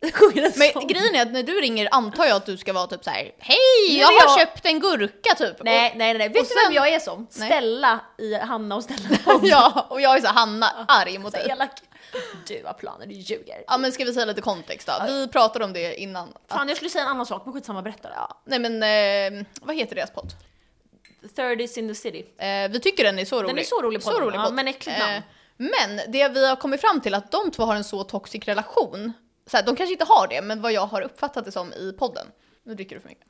Jag sjunger en
Men
sång.
grejen är att när du ringer antar jag att du ska vara typ så här:
Nu
hej
är
jag har
jag-
köpt en gurka typ.
Nej, nej, nej, nej. Vet
och
du vem
sen-
jag är som?
Nej.
Stella i Hanna och Stella.
Och, ja, och jag är så här, Hanna, arg mot
Så
dig.
elak. Du har planer, du ljuger.
Ja men ska vi säga lite kontext då? Vi pratade om det innan. Att,
Fan jag skulle säga en annan sak men skitsamma, berätta det.
nej men eh, vad heter deras podd?
30s in the city.
Eh, vi tycker den är så rolig. Eh,
är så rolig podden, ja, men äckligt namn.
men det vi har kommit fram till är att de två har en så toxic relation. Så här, de kanske inte har det, men vad jag har uppfattat det som i podden. Nu dricker du för mycket.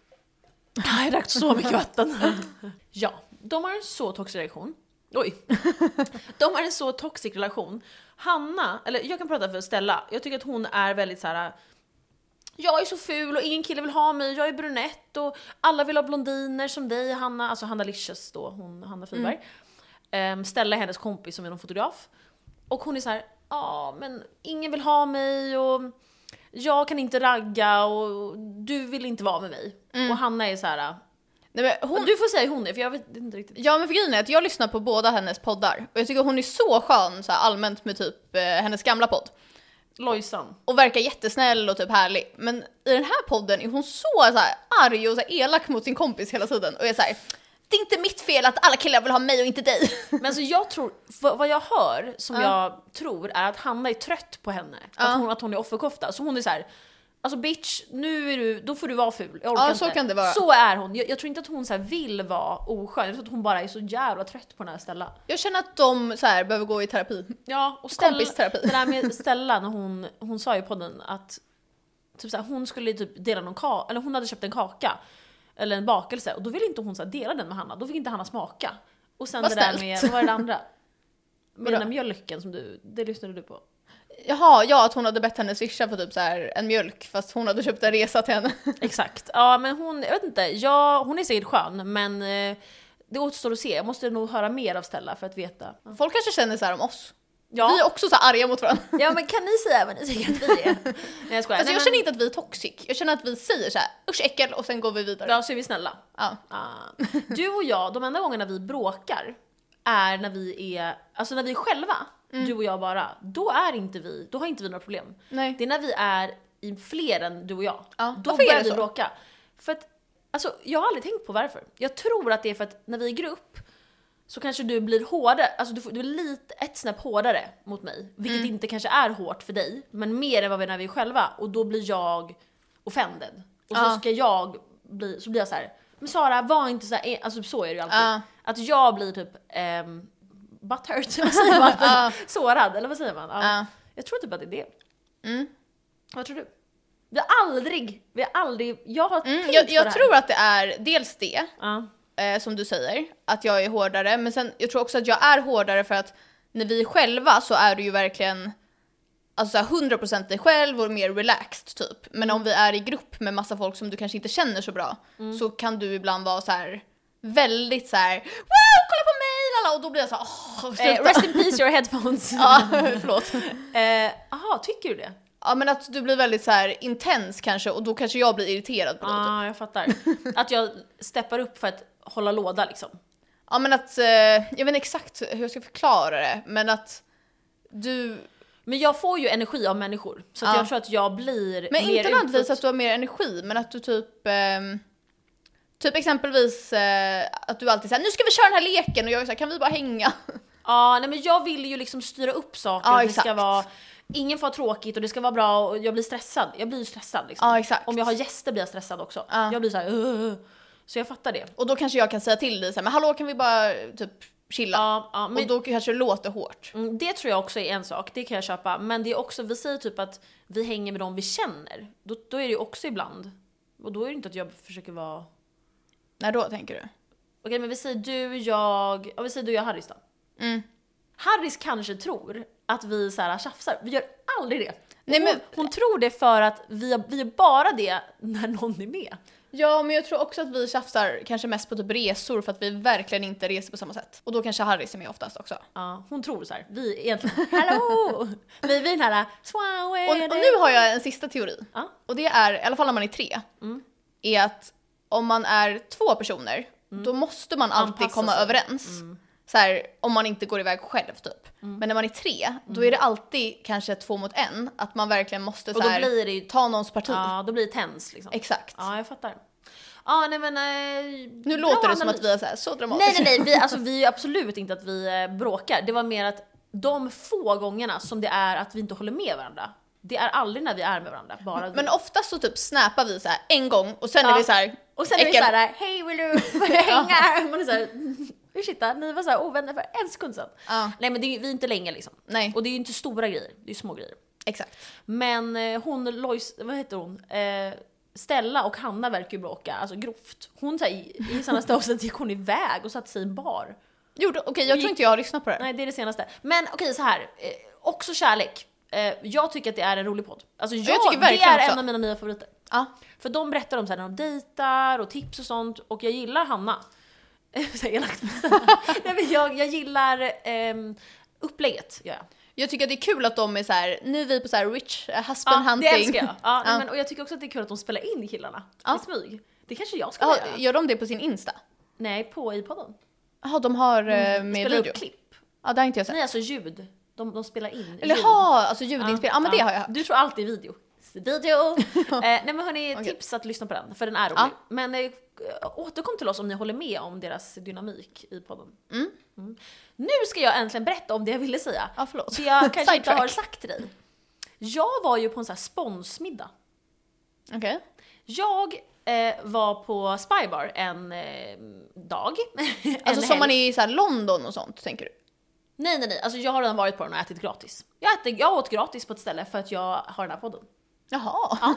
Jag drack så mycket vatten. ja, de har en så toxisk relation. Oj. De har en så toxic relation. Hanna, eller jag kan prata för Stella, jag tycker att hon är väldigt så här. Jag är så ful och ingen kille vill ha mig, jag är brunett och alla vill ha blondiner som dig Hanna, alltså Hanna Licious då, hon, Hanna Friberg. Ehm, Stella är hennes kompis som är någon fotograf. Och hon är så här, ja men ingen vill ha mig och jag kan inte ragga och du vill inte vara med mig. Och Hanna är så här.
Nej, men Mm. hon,
du får säga hur hon är för jag vet inte riktigt.
Ja men för grejen är att jag lyssnar på båda hennes poddar och jag tycker hon är så skön så här, allmänt med typ eh, hennes gamla podd.
Lojsan.
Och verkar jättesnäll och typ härlig. Men i den här podden är hon så, så här, arg och så här, elak mot sin kompis hela tiden och är så här. Det är inte mitt fel att alla killar vill ha mig och inte dig.
Men alltså jag tror, vad vad jag hör som
Ja.
jag tror är att Hanna är trött på henne. Att,
Ja.
hon, att hon är offerkofta. Så hon är så här. Alltså bitch, nu är du, då får du vara ful. Jag orkar
Ja,
inte.
så kan det vara.
Så är hon. Jag, jag tror inte att hon så här vill vara oskön. Jag tror att hon bara är så jävla trött på den här Stella.
Jag känner att de så här, behöver gå i terapi.
Ja, och Stella,
Kompisterapi.
Det där med Stella, när hon, hon sa i podden att typ såhär, hon skulle typ dela någon kaka, eller hon hade köpt en kaka, eller en bakelse, och då ville inte hon såhär, dela den med Hanna, då fick inte Hanna smaka. Och sen
Vad
det där
snällt.
med, vad var det andra? Med den
Vadå?
där mjölken som du, det lyssnade du på.
Jaha, ja att hon hade bett henne swisha för typ så här en mjölk fast hon hade köpt en resa till henne.
Exakt, ja men hon, jag vet inte, ja, hon är säkert skön men eh, det återstår att se, jag måste nog höra mer av Stella för att veta.
Folk kanske känner så här om oss.
Ja,
Vi är också så här arga mot varandra.
ja men kan ni säga vad ni tycker att vi är? Nej jag skojar.
Alltså,
Nej,
jag
men-
känner inte att vi är toxic. Jag känner att vi säger så här usch äckel och sen går vi vidare. Ja.
Ja så är vi snälla. Ah. Du och jag, de enda gångerna vi bråkar är när vi är, alltså när vi är själva, du och jag bara, då är inte vi, då har inte vi några problem.
Nej.
Det är när vi är i fler än du och jag,
Ja,
då
varför är
börjar
det
vi
så?
bråka. För att, alltså jag har aldrig tänkt på varför. Jag tror att det är för att när vi är i grupp så kanske du blir hårdare, alltså du, får- du är lite ett snäpp hårdare mot mig, vilket
Mm.
inte kanske är hårt för dig, men mer än vad vi är när vi är själva och då blir jag offended. Och så
Ja.
ska jag bli, så blir jag så här. men Sara var inte så här, eh", alltså så är det ju alltid.
Ja.
Att jag blir typ um, butthurt, vad säger man?
Ja.
Sårad, eller vad säger man? Ja.
Ja.
Jag tror typ att det är det.
Mm.
Vad tror du? Vi har aldrig, vi har aldrig, jag har
Mm,
tänkt
jag
på det
jag
här.
tror att det är dels det
Ja.
eh, som du säger, att jag är hårdare, men sen jag tror också att jag är hårdare för att när vi är själva så är du ju verkligen alltså så här 100% dig själv och mer relaxed typ. Men om vi är i grupp med massa folk som du kanske inte känner så bra
Mm.
så kan du ibland vara så här väldigt så här wow kolla på mig lala och då blir jag så här åh,
Eh,
sluta.
rest in peace your headphones.
ja, förlåt.
Eh, Aha, tycker du det?
Ja men att du blir väldigt så här intens kanske och då kanske jag blir irriterad på
Ja,
dig. typ.
ah, jag fattar. Att jag steppar upp för att hålla låda liksom.
Ja men att, eh, jag vet inte exakt hur jag ska förklara det men att du
Men jag får ju energi av människor, så att
Ja.
jag tror att jag blir
Men
mer
inte nödvändigtvis
utåt.
att du har mer energi, men att du typ... ehm, typ exempelvis eh, att du alltid säger nu ska vi köra den här leken och jag är såhär, kan vi bara hänga?
Ja, nej men jag vill ju liksom styra upp saker.
Ja,
och det
exakt.
ska vara, ingen får ha tråkigt och det ska vara bra och jag blir stressad. Jag blir ju stressad liksom.
Ja, exakt.
Om jag har gäster blir jag stressad också.
Ja.
Jag blir så här, "Ugh." Så jag fattar det.
Och då kanske jag kan säga till dig såhär, men hallå kan vi bara eh, typ chilla?
Ja, ja, men
Och då kanske det låter hårt.
mm, Det tror jag också är en sak, det kan jag köpa. Men det är också, vi säger typ att vi hänger med dem vi känner. Då, då är det ju också ibland. Och då är det inte att jag försöker vara...
När då tänker du?
Okej men vi säger du, jag, ja, vi säger du, jag, Harris då.
Mm.
Harris kanske tror att vi så här tjafsar, vi gör aldrig det.
Nej,
hon,
men-
hon tror det för att vi, har- vi gör bara det när någon är med.
Ja, men jag tror också att vi tjafsar kanske mest på typ resor för att vi verkligen inte reser på samma sätt. Och då kanske Harris är med oftast också.
Ja, hon tror så här, vi är egentligen, hallå! vi, vi är den här,
Och,
"Swawe,
och
det-"
nu har jag en sista teori.
Ja. Mm.
Och det är, i alla fall när man är tre, är att om man är två personer, då måste man alltid
Mm. Anpassa
komma
sig. Mm.
överens. Så här, om man inte går iväg själv typ. Men när man är tre, då är det alltid kanske två mot en, att man verkligen måste
Mm. Och
så
då
här,
blir det ju,
ta någons parti.
ja då blir det tens liksom.
Exakt.
Ja jag fattar. Ja nej men... Eh,
Nu
bra
låter det som
analys.
att vi är så, här, så dramatiska.
Nej nej nej, vi, alltså, vi är ju absolut inte att vi eh, bråkar. Det var mer att de få gångerna som det är att vi inte håller med varandra. Det är aldrig när vi är med varandra, bara vi.
Men oftast så typ snappar vi så här en gång och sen är
Ja.
vi så här,
och sen är vi
äckel.
såhär, hej vill du hänga? Man är såhär, ursäkta, ni var såhär ovänner för en sekund sedan.
Ja.
Nej men det är, ju- vi är inte länge liksom.
nej,
Och det är ju inte stora grejer, det är ju små grejer.
exakt.
Men eh, hon, Lois, vad heter hon? Eh, Stella och Hanna verkar ju bråka, alltså grovt. Hon såhär, i i Sanna Stowset gick hon iväg och satte sig i en bar.
Jo, då- okej jag tror inte jag har lyssnat på det här.
Nej, det är det senaste. Men okej, så här. Eh, också kärlek. Eh, jag tycker att det är en rolig podd. Alltså jag,
jag tycker
det
verkligen
är en
också.
av mina nya favoriter.
Ja.
För de berättar om så här, när de dejtar och tips och sånt och jag gillar Hanna. så här elakt. Nej, men jag, jag gillar ehm, upplägget. gör jag.
Jag tycker att det är kul att de är så här, nu är vi på så här rich eh, husband
Ja, det
hunting.
älskar jag. Ja, nej,
Ja.
Men, och jag tycker också att det är kul att de spelar in killarna i smyg. Det kanske jag ska
Jaha,
göra.
gör de det på sin Insta?
Nej, på i podden.
Jaha, de har eh, med
Mm, Spelar
video?
upp klipp.
Ja, det har inte jag sett.
Nej, alltså ljud. De, de spelar in
Eller
ljud.
ha, alltså ljudinspelning. Ja, men det har jag.
Du tror alltid video. Video! eh, nej men hörni,
Okej.
tips att lyssna på den, för den är rolig.
Ja.
Men eh, återkom till oss om ni håller med om deras dynamik i podden.
Mm.
Mm. Nu ska jag äntligen berätta om det jag ville säga.
Ja, förlåt.
Det jag kanske inte
Sidetrack.
har sagt till dig. Jag var ju på en sån här sponsmiddag.
Okej.
Jag eh, var på Spybar en eh, dag. en
Alltså som
helg.
man är i så här London och sånt, tänker du?
Nej nej nej, alltså jag har redan varit på den och ätit gratis. Jag, äter, jag åt gratis på ett ställe för att jag har den här podden.
Jaha.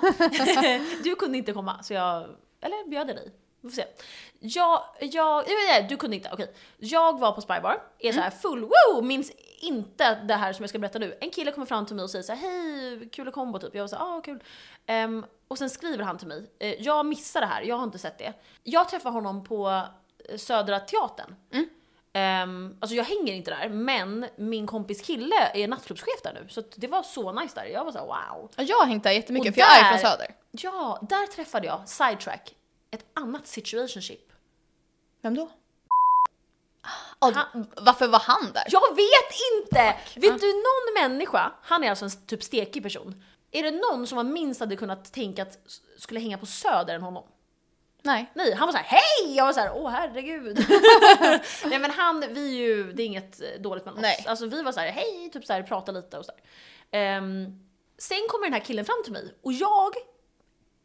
du kunde inte komma, så jag... Eller bjöd jag dig? Vi får se. Jag, jag, nej, nej, du kunde inte, okej. Jag var på Spybar, är så här full, wow, minns inte det här som jag ska berätta nu. En kille kommer fram till mig och säger så här, hej, kul och kombo typ. Jag var så här, ah kul. Ehm, och sen skriver han till mig, eh, jag missar det här, jag har inte sett det. Jag träffar honom på eh, Södra Teatern. Ehm, alltså jag hänger inte där, men min kompis kille är nattklubbschef där nu. Så att det var så nice där, jag var så här, wow.
Ja, Jag har hängt där jättemycket
Och
för jag är
där-
från Söder.
Ja, där träffade jag, sidetrack, ett annat situationship.
Vem då? Ah, d- varför var han där?
Jag vet inte! Vet du någon människa, han är alltså en typ stekig person, är det någon som man minst hade kunnat tänka att s- skulle hänga på söder än honom?
Nej.
Nej, han var så här hej! Jag var så här åh herregud. Nej men han, vi är ju, det är inget eh, dåligt mellan
Nej.
oss. Alltså vi var så här hej, typ så här prata lite och så här. Ehm, sen kommer den här killen fram till mig och jag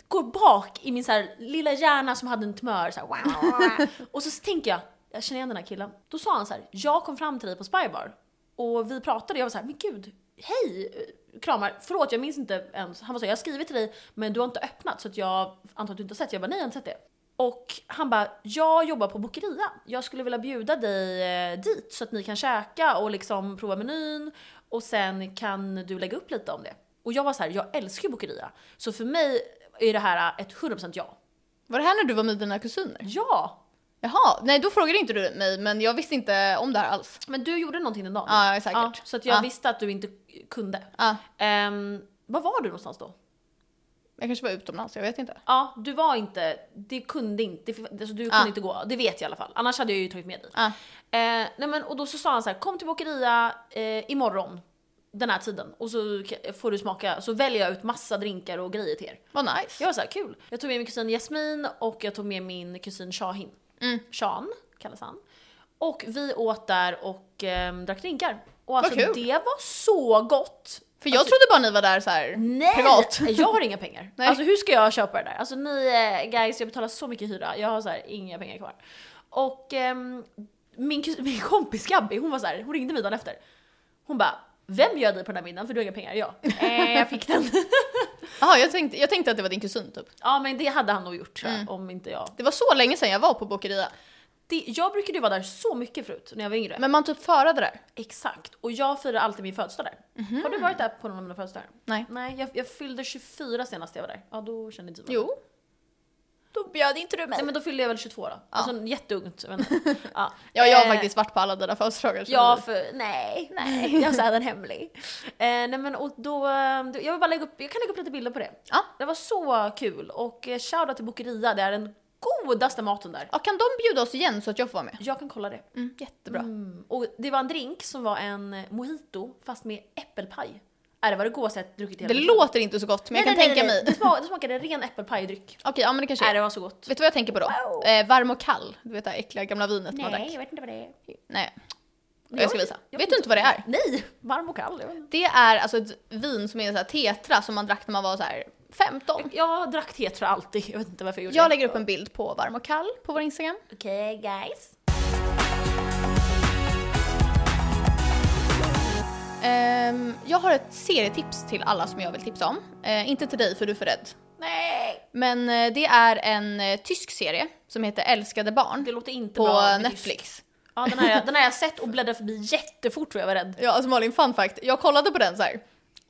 går bak i min så här lilla hjärna som hade en tumör så här, wow. Och så tänker jag, jag känner igen den här killen. Då sa han så här, jag kom fram till dig på Spybar och vi pratade jag var så här, men gud, hej! Kramar, förlåt jag minns inte ens. Han var så här, jag har skrivit till dig men du har inte öppnat så att jag antar att du inte har sett. Jag bara, nej jag har inte sett det. Och han bara, jag jobbar på Bokeria. Jag skulle vilja bjuda dig eh, dit så att ni kan käka och liksom prova menyn och sen kan du lägga upp lite om det. Och jag var så här, jag älskar ju Bokeria. Så för mig är det här ett 100% ja.
Var det här när du var med dina kusiner?
Ja!
Jaha, nej då frågade inte du mig men jag visste inte om det här alls.
Men du gjorde någonting den dagen.
Ja, säkert.
så att jag
Ja.
visste att du inte kunde.
Ja,
Ehm, var var du någonstans då?
jag kanske var utomlands, jag vet inte.
Ja, du var inte, det kunde inte, det- alltså du kunde
Ah.
inte gå, det vet jag i alla fall. Annars hade jag ju tagit med dig.
Ah.
Eh, nej men, och då så sa han så här, kom till Bokeria eh, imorgon, den här tiden. Och så k- får du smaka, så väljer jag ut massa drinkar och grejer till er.
Vad nice.
Jag var så här, kul. Jag tog med min kusin Jasmin och jag tog med min kusin Shahin.
Mm.
Sean kallas han. Och vi åt där och ehm, drack drinkar. Och alltså
kul.
det var så gott! Alltså,
För jag trodde bara ni var där så här.
Nej!
Privat.
Jag har inga pengar.
Nej.
Alltså hur ska jag köpa det där? Alltså ni eh, guys, jag betalar så mycket hyra. Jag har så här, inga pengar kvar. Och ehm, min, kus- min kompis Gabby, hon var så här, hon ringde mig dagen efter. Hon bara, vem gör dig på den här middagen för du har inga pengar? Jag. Eh, jag fick den.
Jaha, jag tänkte, jag tänkte att det var din kusin typ.
ja men det hade han nog gjort tror jag,
Mm.
om inte jag.
Det var så länge sedan jag var på Bokeria.
Det, jag brukade ju vara där så mycket förut när jag var yngre.
Men man typ förade där.
Exakt. Och jag firar alltid min födelsedag där.
Mhm.
Har du varit där på någon av mina födelsedagar?
Nej.
Nej, jag, jag fyllde 24 senast jag var där. Ja då kände inte du mig.
Jo. Då bjöd inte du mig.
Nej men då fyllde jag väl 22 då. Alltså jätteungt. Men, ja.
Ja, jag har
Eh,
faktiskt varit på alla dina födelsedagar. så-
Ja, för nej, nej, jag sa den hemlig. Eh, nej men och då, eh, då- jag vill bara lägga upp, jag kan lägga upp lite bilder på det.
Ja.
Det var så kul och eh, shoutout till Bokeria, det är den godaste maten där.
ja, kan de bjuda oss igen så att jag får vara med?
Jag kan kolla det.
Mm, jättebra.
Mm. Och det var en drink som var en mojito fast med äppelpaj. Är det var det godaste jag druckit i hela
Det
mitt liv.
låter inte så gott men jag kan tänka
nej,
mig.
Det smakade, det smakade ren äppelpajdryck.
Okej, ja men det kanske
Nej,
är.
det var så gott.
Vet du vad jag tänker på då?
Wow.
Eh, varm och kall. Du vet det här äckliga gamla vinet man
Nej,
drack.
jag vet inte vad det är.
Nej.
Men
Jag ska visa. Vet du inte vad det är?
Nej! Varm och kall. jag vet inte.
Det är alltså ett vin som är så här tetra som man drack när man var så här 15.
Jag drack tetra alltid, jag vet inte varför jag gjorde
Jag
det.
lägger upp en bild på varm och kall på vår Instagram.
Okej guys.
Ehm, jag har ett serietips till alla som jag vill tipsa om. Eh, inte till dig för du är för rädd.
Nej!
Men eh, det är en eh, tysk serie som heter Älskade barn
Det låter inte
på
bra. med tysk.
Netflix.
Ja, den har, jag, den har jag sett och bläddrat förbi jättefort tror jag var rädd.
Ja, alltså Malin, fun fact. Jag kollade på den så här.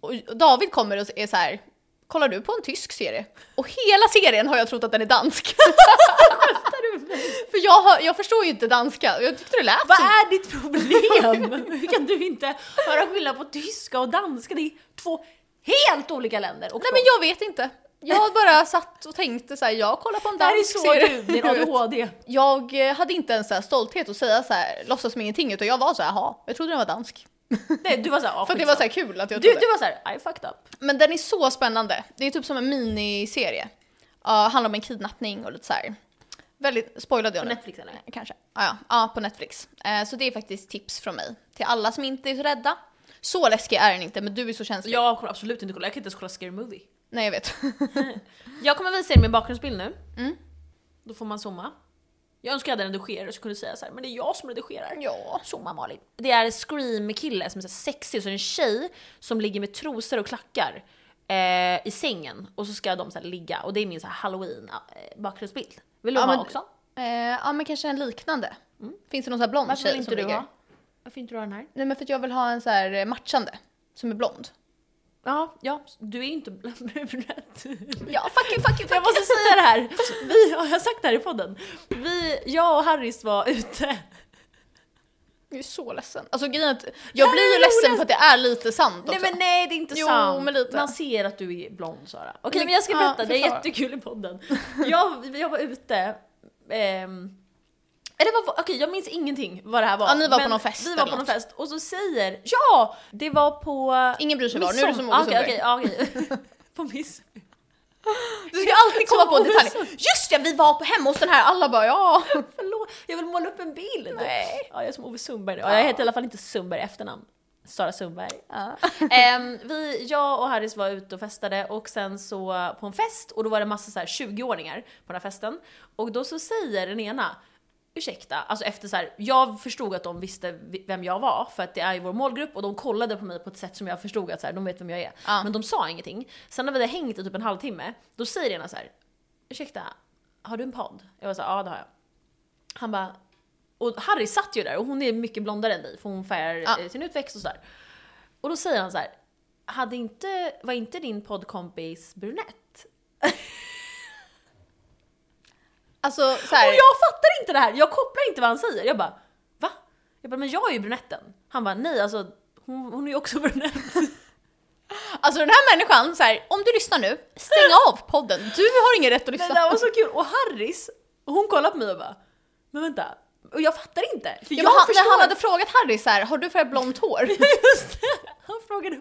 Och David kommer och är så här. Kollar du på en tysk serie? Och hela serien har jag trott att den är dansk. För jag, hör, jag förstår ju inte danska och jag tyckte det lät
Vad
som-
är ditt problem? Hur kan du inte höra skillnad på tyska och danska? Det är två helt olika länder. Och
Nej men jag vet inte. Jag bara satt och tänkte så här, jag kollar på en
det här är
dansk
så
serie.
du, din ADHD.
Jag eh, hade inte ens så här stolthet att säga så här, låtsas som ingenting utan jag var så här, jaha, jag trodde den var dansk.
Nej, du var såhär, ah,
För att det var så här kul att jag
du,
trodde.
du var såhär, I fucked up.
Men den är så spännande. Det är typ som en miniserie. Uh, handlar om en kidnappning och lite så här. Väldigt, spoilade jag
På
nu?
Netflix eller?
Kanske. Ja, ja. ja, på Netflix. Eh, så det är faktiskt tips från mig till alla som inte är så rädda. Så läskig är den inte, men du är så känslig.
Jag kommer absolut inte kolla, jag kan inte ens kolla Scary Movie.
Nej, jag vet.
Jag kommer visa er min bakgrundsbild nu.
Mm.
Då får man zooma. Jag önskar jag hade en redigerare så kunde jag säga så här, men det är jag som redigerar.
ja.
Zooma Malin. Det är en scream-kille som är så här sexig, så det är en tjej som ligger med trosor och klackar eh, i sängen. Och så ska de så här ligga, och det är min så här halloween-bakgrundsbild. Vill du
Ja,
ha
men-
också?
Eh, ja, men kanske en liknande. Finns det någon sån här blond
Mm. Varför
tjej
vill inte
som
du
ligger?
ha? Varför inte du ha den här?
Nej, men för att jag vill ha en så här eh, matchande. Som är blond.
Ja, ja, du är ju inte brunett.
Ja, fuck you, fuck you,
Jag måste säga det här. Vi, har jag sagt det här i podden? Vi, jag och Harris var ute.
Jag är så ledsen. Alltså grejen är att jag blir ju ledsen för att det är lite sant också.
Nej men nej det är inte
Jo,
sant.
men lite.
Man ser att du är blond Sara. Okej
Men-
men jag ska
ja,
berätta, det är
förklara.
jättekul i podden. Jag, jag var ute, ehm, eller vad, okej jag minns ingenting vad det här var.
Ja, ni var på
men
någon fest
Vi var
eller
på någon
något.
fest och så säger, ja! Det var på...
Ingen bryr sig bara, nu är
midsommar.
du som
Ah,
Ove
Okej
Sundberg.
okej, okej. På miss...
Du ska alltid komma på
Så-
detaljer. Just ja, vi var på hemma hos den här, alla bara ja.
Förlåt, jag vill måla upp en bild.
Nej.
Ja, jag är som Ove Sundberg. Ja, jag heter i alla fall inte Sundberg i efternamn. Sara Sundberg. Ehm, vi, jag och Harris var ute och festade och sen så på en fest och då var det massa så här 20-åringar på den här festen. Och då så säger den ena Ursäkta, alltså efter så här, jag förstod att de visste vi- vem jag var för att det är ju vår målgrupp och de kollade på mig på ett sätt som jag förstod att så här, de vet vem jag är.
Ja.
Men de sa ingenting. Sen när vi hade hängt i typ en halvtimme, då säger den ena så här, ursäkta, har du en podd? Jag var så här, ja det har jag. Han bara, och Harry satt ju där och hon är mycket blondare än dig för hon färgar
Ja.
eh, sin utväxt och sådär. Och då säger han så här, hade inte, var inte din poddkompis brunett?
Alltså så här,
Och jag fattar inte det här, jag kopplar inte vad han säger. Jag bara, va? Jag bara, men jag är ju brunetten. Han bara, nej alltså hon, hon är ju också brunett.
alltså den här människan, så här, om du lyssnar nu, stäng av podden. Du har ingen rätt att
Det
lyssna.
där var så kul. Och Harris, hon kollar på mig och bara, men vänta. Och jag fattar inte. För
Ja,
jag
men han,
förstår.
när han hade frågat Harry så här, har du för blont hår?
Just det. Han frågade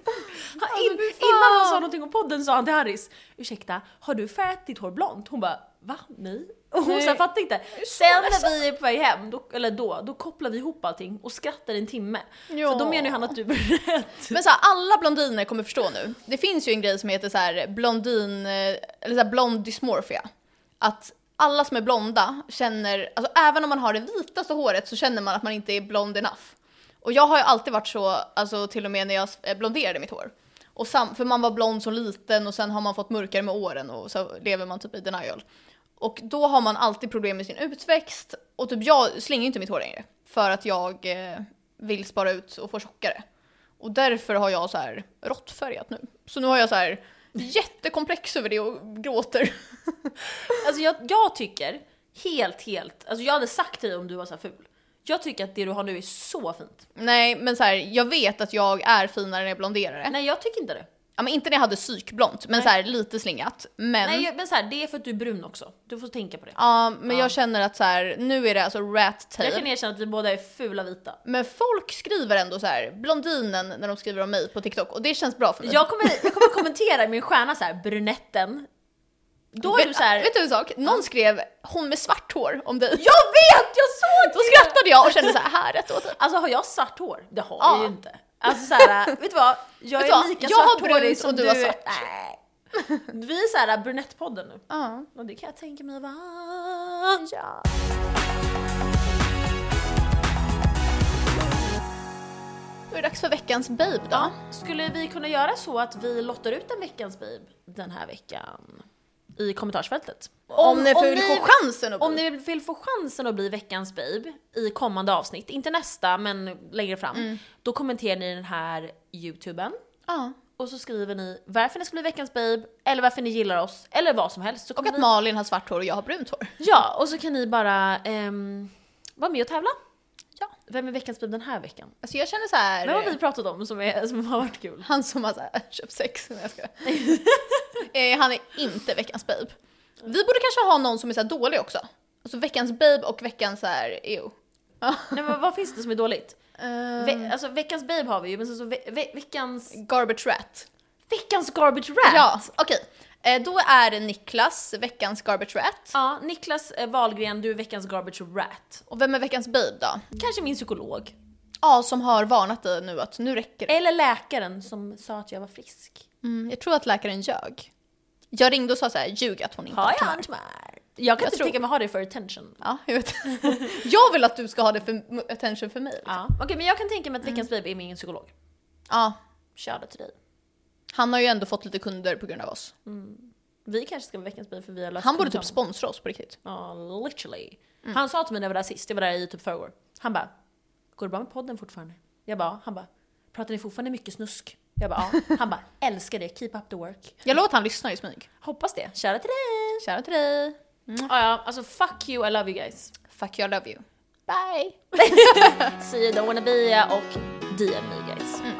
han, in,
fy fan.
Innan han sa någonting om podden sa han till Harris Ursäkta, har du färgat ditt hår blont? Hon bara va? Nej. Och hon
Nej.
så här, fattar inte. Sen när vi är på väg hem, då, eller då, då kopplar vi ihop allting och skrattar i en timme. För
Ja.
då menar ju han att du är rätt.
Men så här, alla blondiner kommer förstå nu. Det finns ju en grej som heter så här blondin, eh, eller så här blond dysmorphia. Att alla som är blonda känner, alltså även om man har det vitaste håret så känner man att man inte är blond enough. Och jag har ju alltid varit så, alltså till och med när jag eh, blonderade mitt hår. Och sam, för man var blond som liten och sen har man fått mörkare med åren och så lever man typ i denial. Och då har man alltid problem med sin utväxt och typ jag slänger ju inte mitt hår längre. För att jag eh, vill spara ut och få tjockare. Och därför har jag så här råttfärgat nu. Så nu har jag så här jättekomplex över det och gråter.
Alltså jag, jag tycker helt, helt, alltså jag hade sagt till dig om du var så här ful. Jag tycker att det du har nu är så fint.
Nej men så här, jag vet att jag är finare när jag blonderar det.
Nej jag tycker inte det.
Ja, men inte när jag hade psykblont, men så här lite slingat. Men,
Nej, jag- men så här, det är för att du är brun också. Du får tänka på det.
Mm. ja, men jag känner att så här, nu är det alltså rat tail.
Jag kan erkänna att vi båda är fula vita.
Men folk skriver ändå så här, blondinen när de skriver om mig på TikTok och det känns bra för mig.
Jag kommer, jag kommer kommentera i min stjärna så här, brunetten. Då är
vet,
du så här.
vet du en sak? Någon skrev hon med svart hår om dig.
jag vet! Jag såg
Då skrattade jag och kände så här, här rätt åt dig.
Alltså har jag svart hår? Det har
Ja.
jag ju inte. Alltså så här, vet du vad? Jag
Vet du
är
vad?
lika
Jag har
svarthårig
brunt
som
och du har svart.
Nej. Vi är så här brunettpodden nu.
Ja.
Och det kan jag tänka mig va?
Ja. Då är det dags för veckans babe då.
Ja. Skulle vi kunna göra så att vi lottar ut en veckans babe den här veckan? I kommentarsfältet.
Om, ni får få chansen att
Om
bli.
ni vill få chansen att bli veckans babe i kommande avsnitt, inte nästa men längre fram, då kommenterar ni den här youtuben
Ja.
och så skriver ni varför ni ska bli veckans babe eller varför ni gillar oss eller vad som helst. Så
Och
kommer
att
vi-
Malin har svart hår och jag har brunt hår.
Ja, och så kan ni bara ehm, vara med och tävla.
Ja.
Vem är veckans babe den här veckan?
Alltså jag känner så här.
Vem har vi pratat om som, är, som har varit kul?
Han som har så här, köpt sex. Nej, jag ska. eh, han är inte veckans babe. Vi borde kanske ha någon som är så här dålig också. Alltså veckans babe och veckans så här, ew. Ja.
Nej, men vad finns det som är dåligt?
Eh,
Ve- alltså veckans babe har vi ju, men sen så ve- ve- veckans...
garbage rat.
Veckans garbage rat!
Ja, okej. Eh, då är det Niklas, veckans garbage rat.
Ja, Niklas eh, Wahlgren, du är veckans garbage rat.
Och vem är veckans babe då?
Kanske min psykolog.
Ja, som har varnat dig nu att nu räcker det.
Eller läkaren som sa att jag var frisk.
Mm, jag tror att läkaren ljög. Jag ringde och sa så här, ljug att hon inte har tumör."
antimär? Jag kan
Jag
inte
tror-
tänka mig ha det för attention.
Ja, jag vet. jag vill att du ska ha det för attention för mig.
Ja. Liksom. Mm. Okej, men jag kan tänka mig att veckans babe är min psykolog.
Ja,
Kör det till dig.
han har ju ändå fått lite kunder på grund av oss.
Vi kanske ska vara veckans babe för vi har löst
Han borde typ
kontraktet.
sponsra oss på riktigt.
Ja, literally. Han sa till mig när jag var där sist, jag var där i typ förrgår. Han bara, går det bra med podden fortfarande? Jag bara, "Ja." han bara, pratar ni fortfarande mycket snusk? Jag bara, ja. Han bara, älskar det, keep up the work.
Jag lovar att han lyssnar i smyg.
Hoppas det, kära till dig!
Kära till dig.
Ja, ja, alltså fuck you, I love you guys.
Fuck you, I love you. Bye!
See you don't wanna be och DM me guys.
Mm.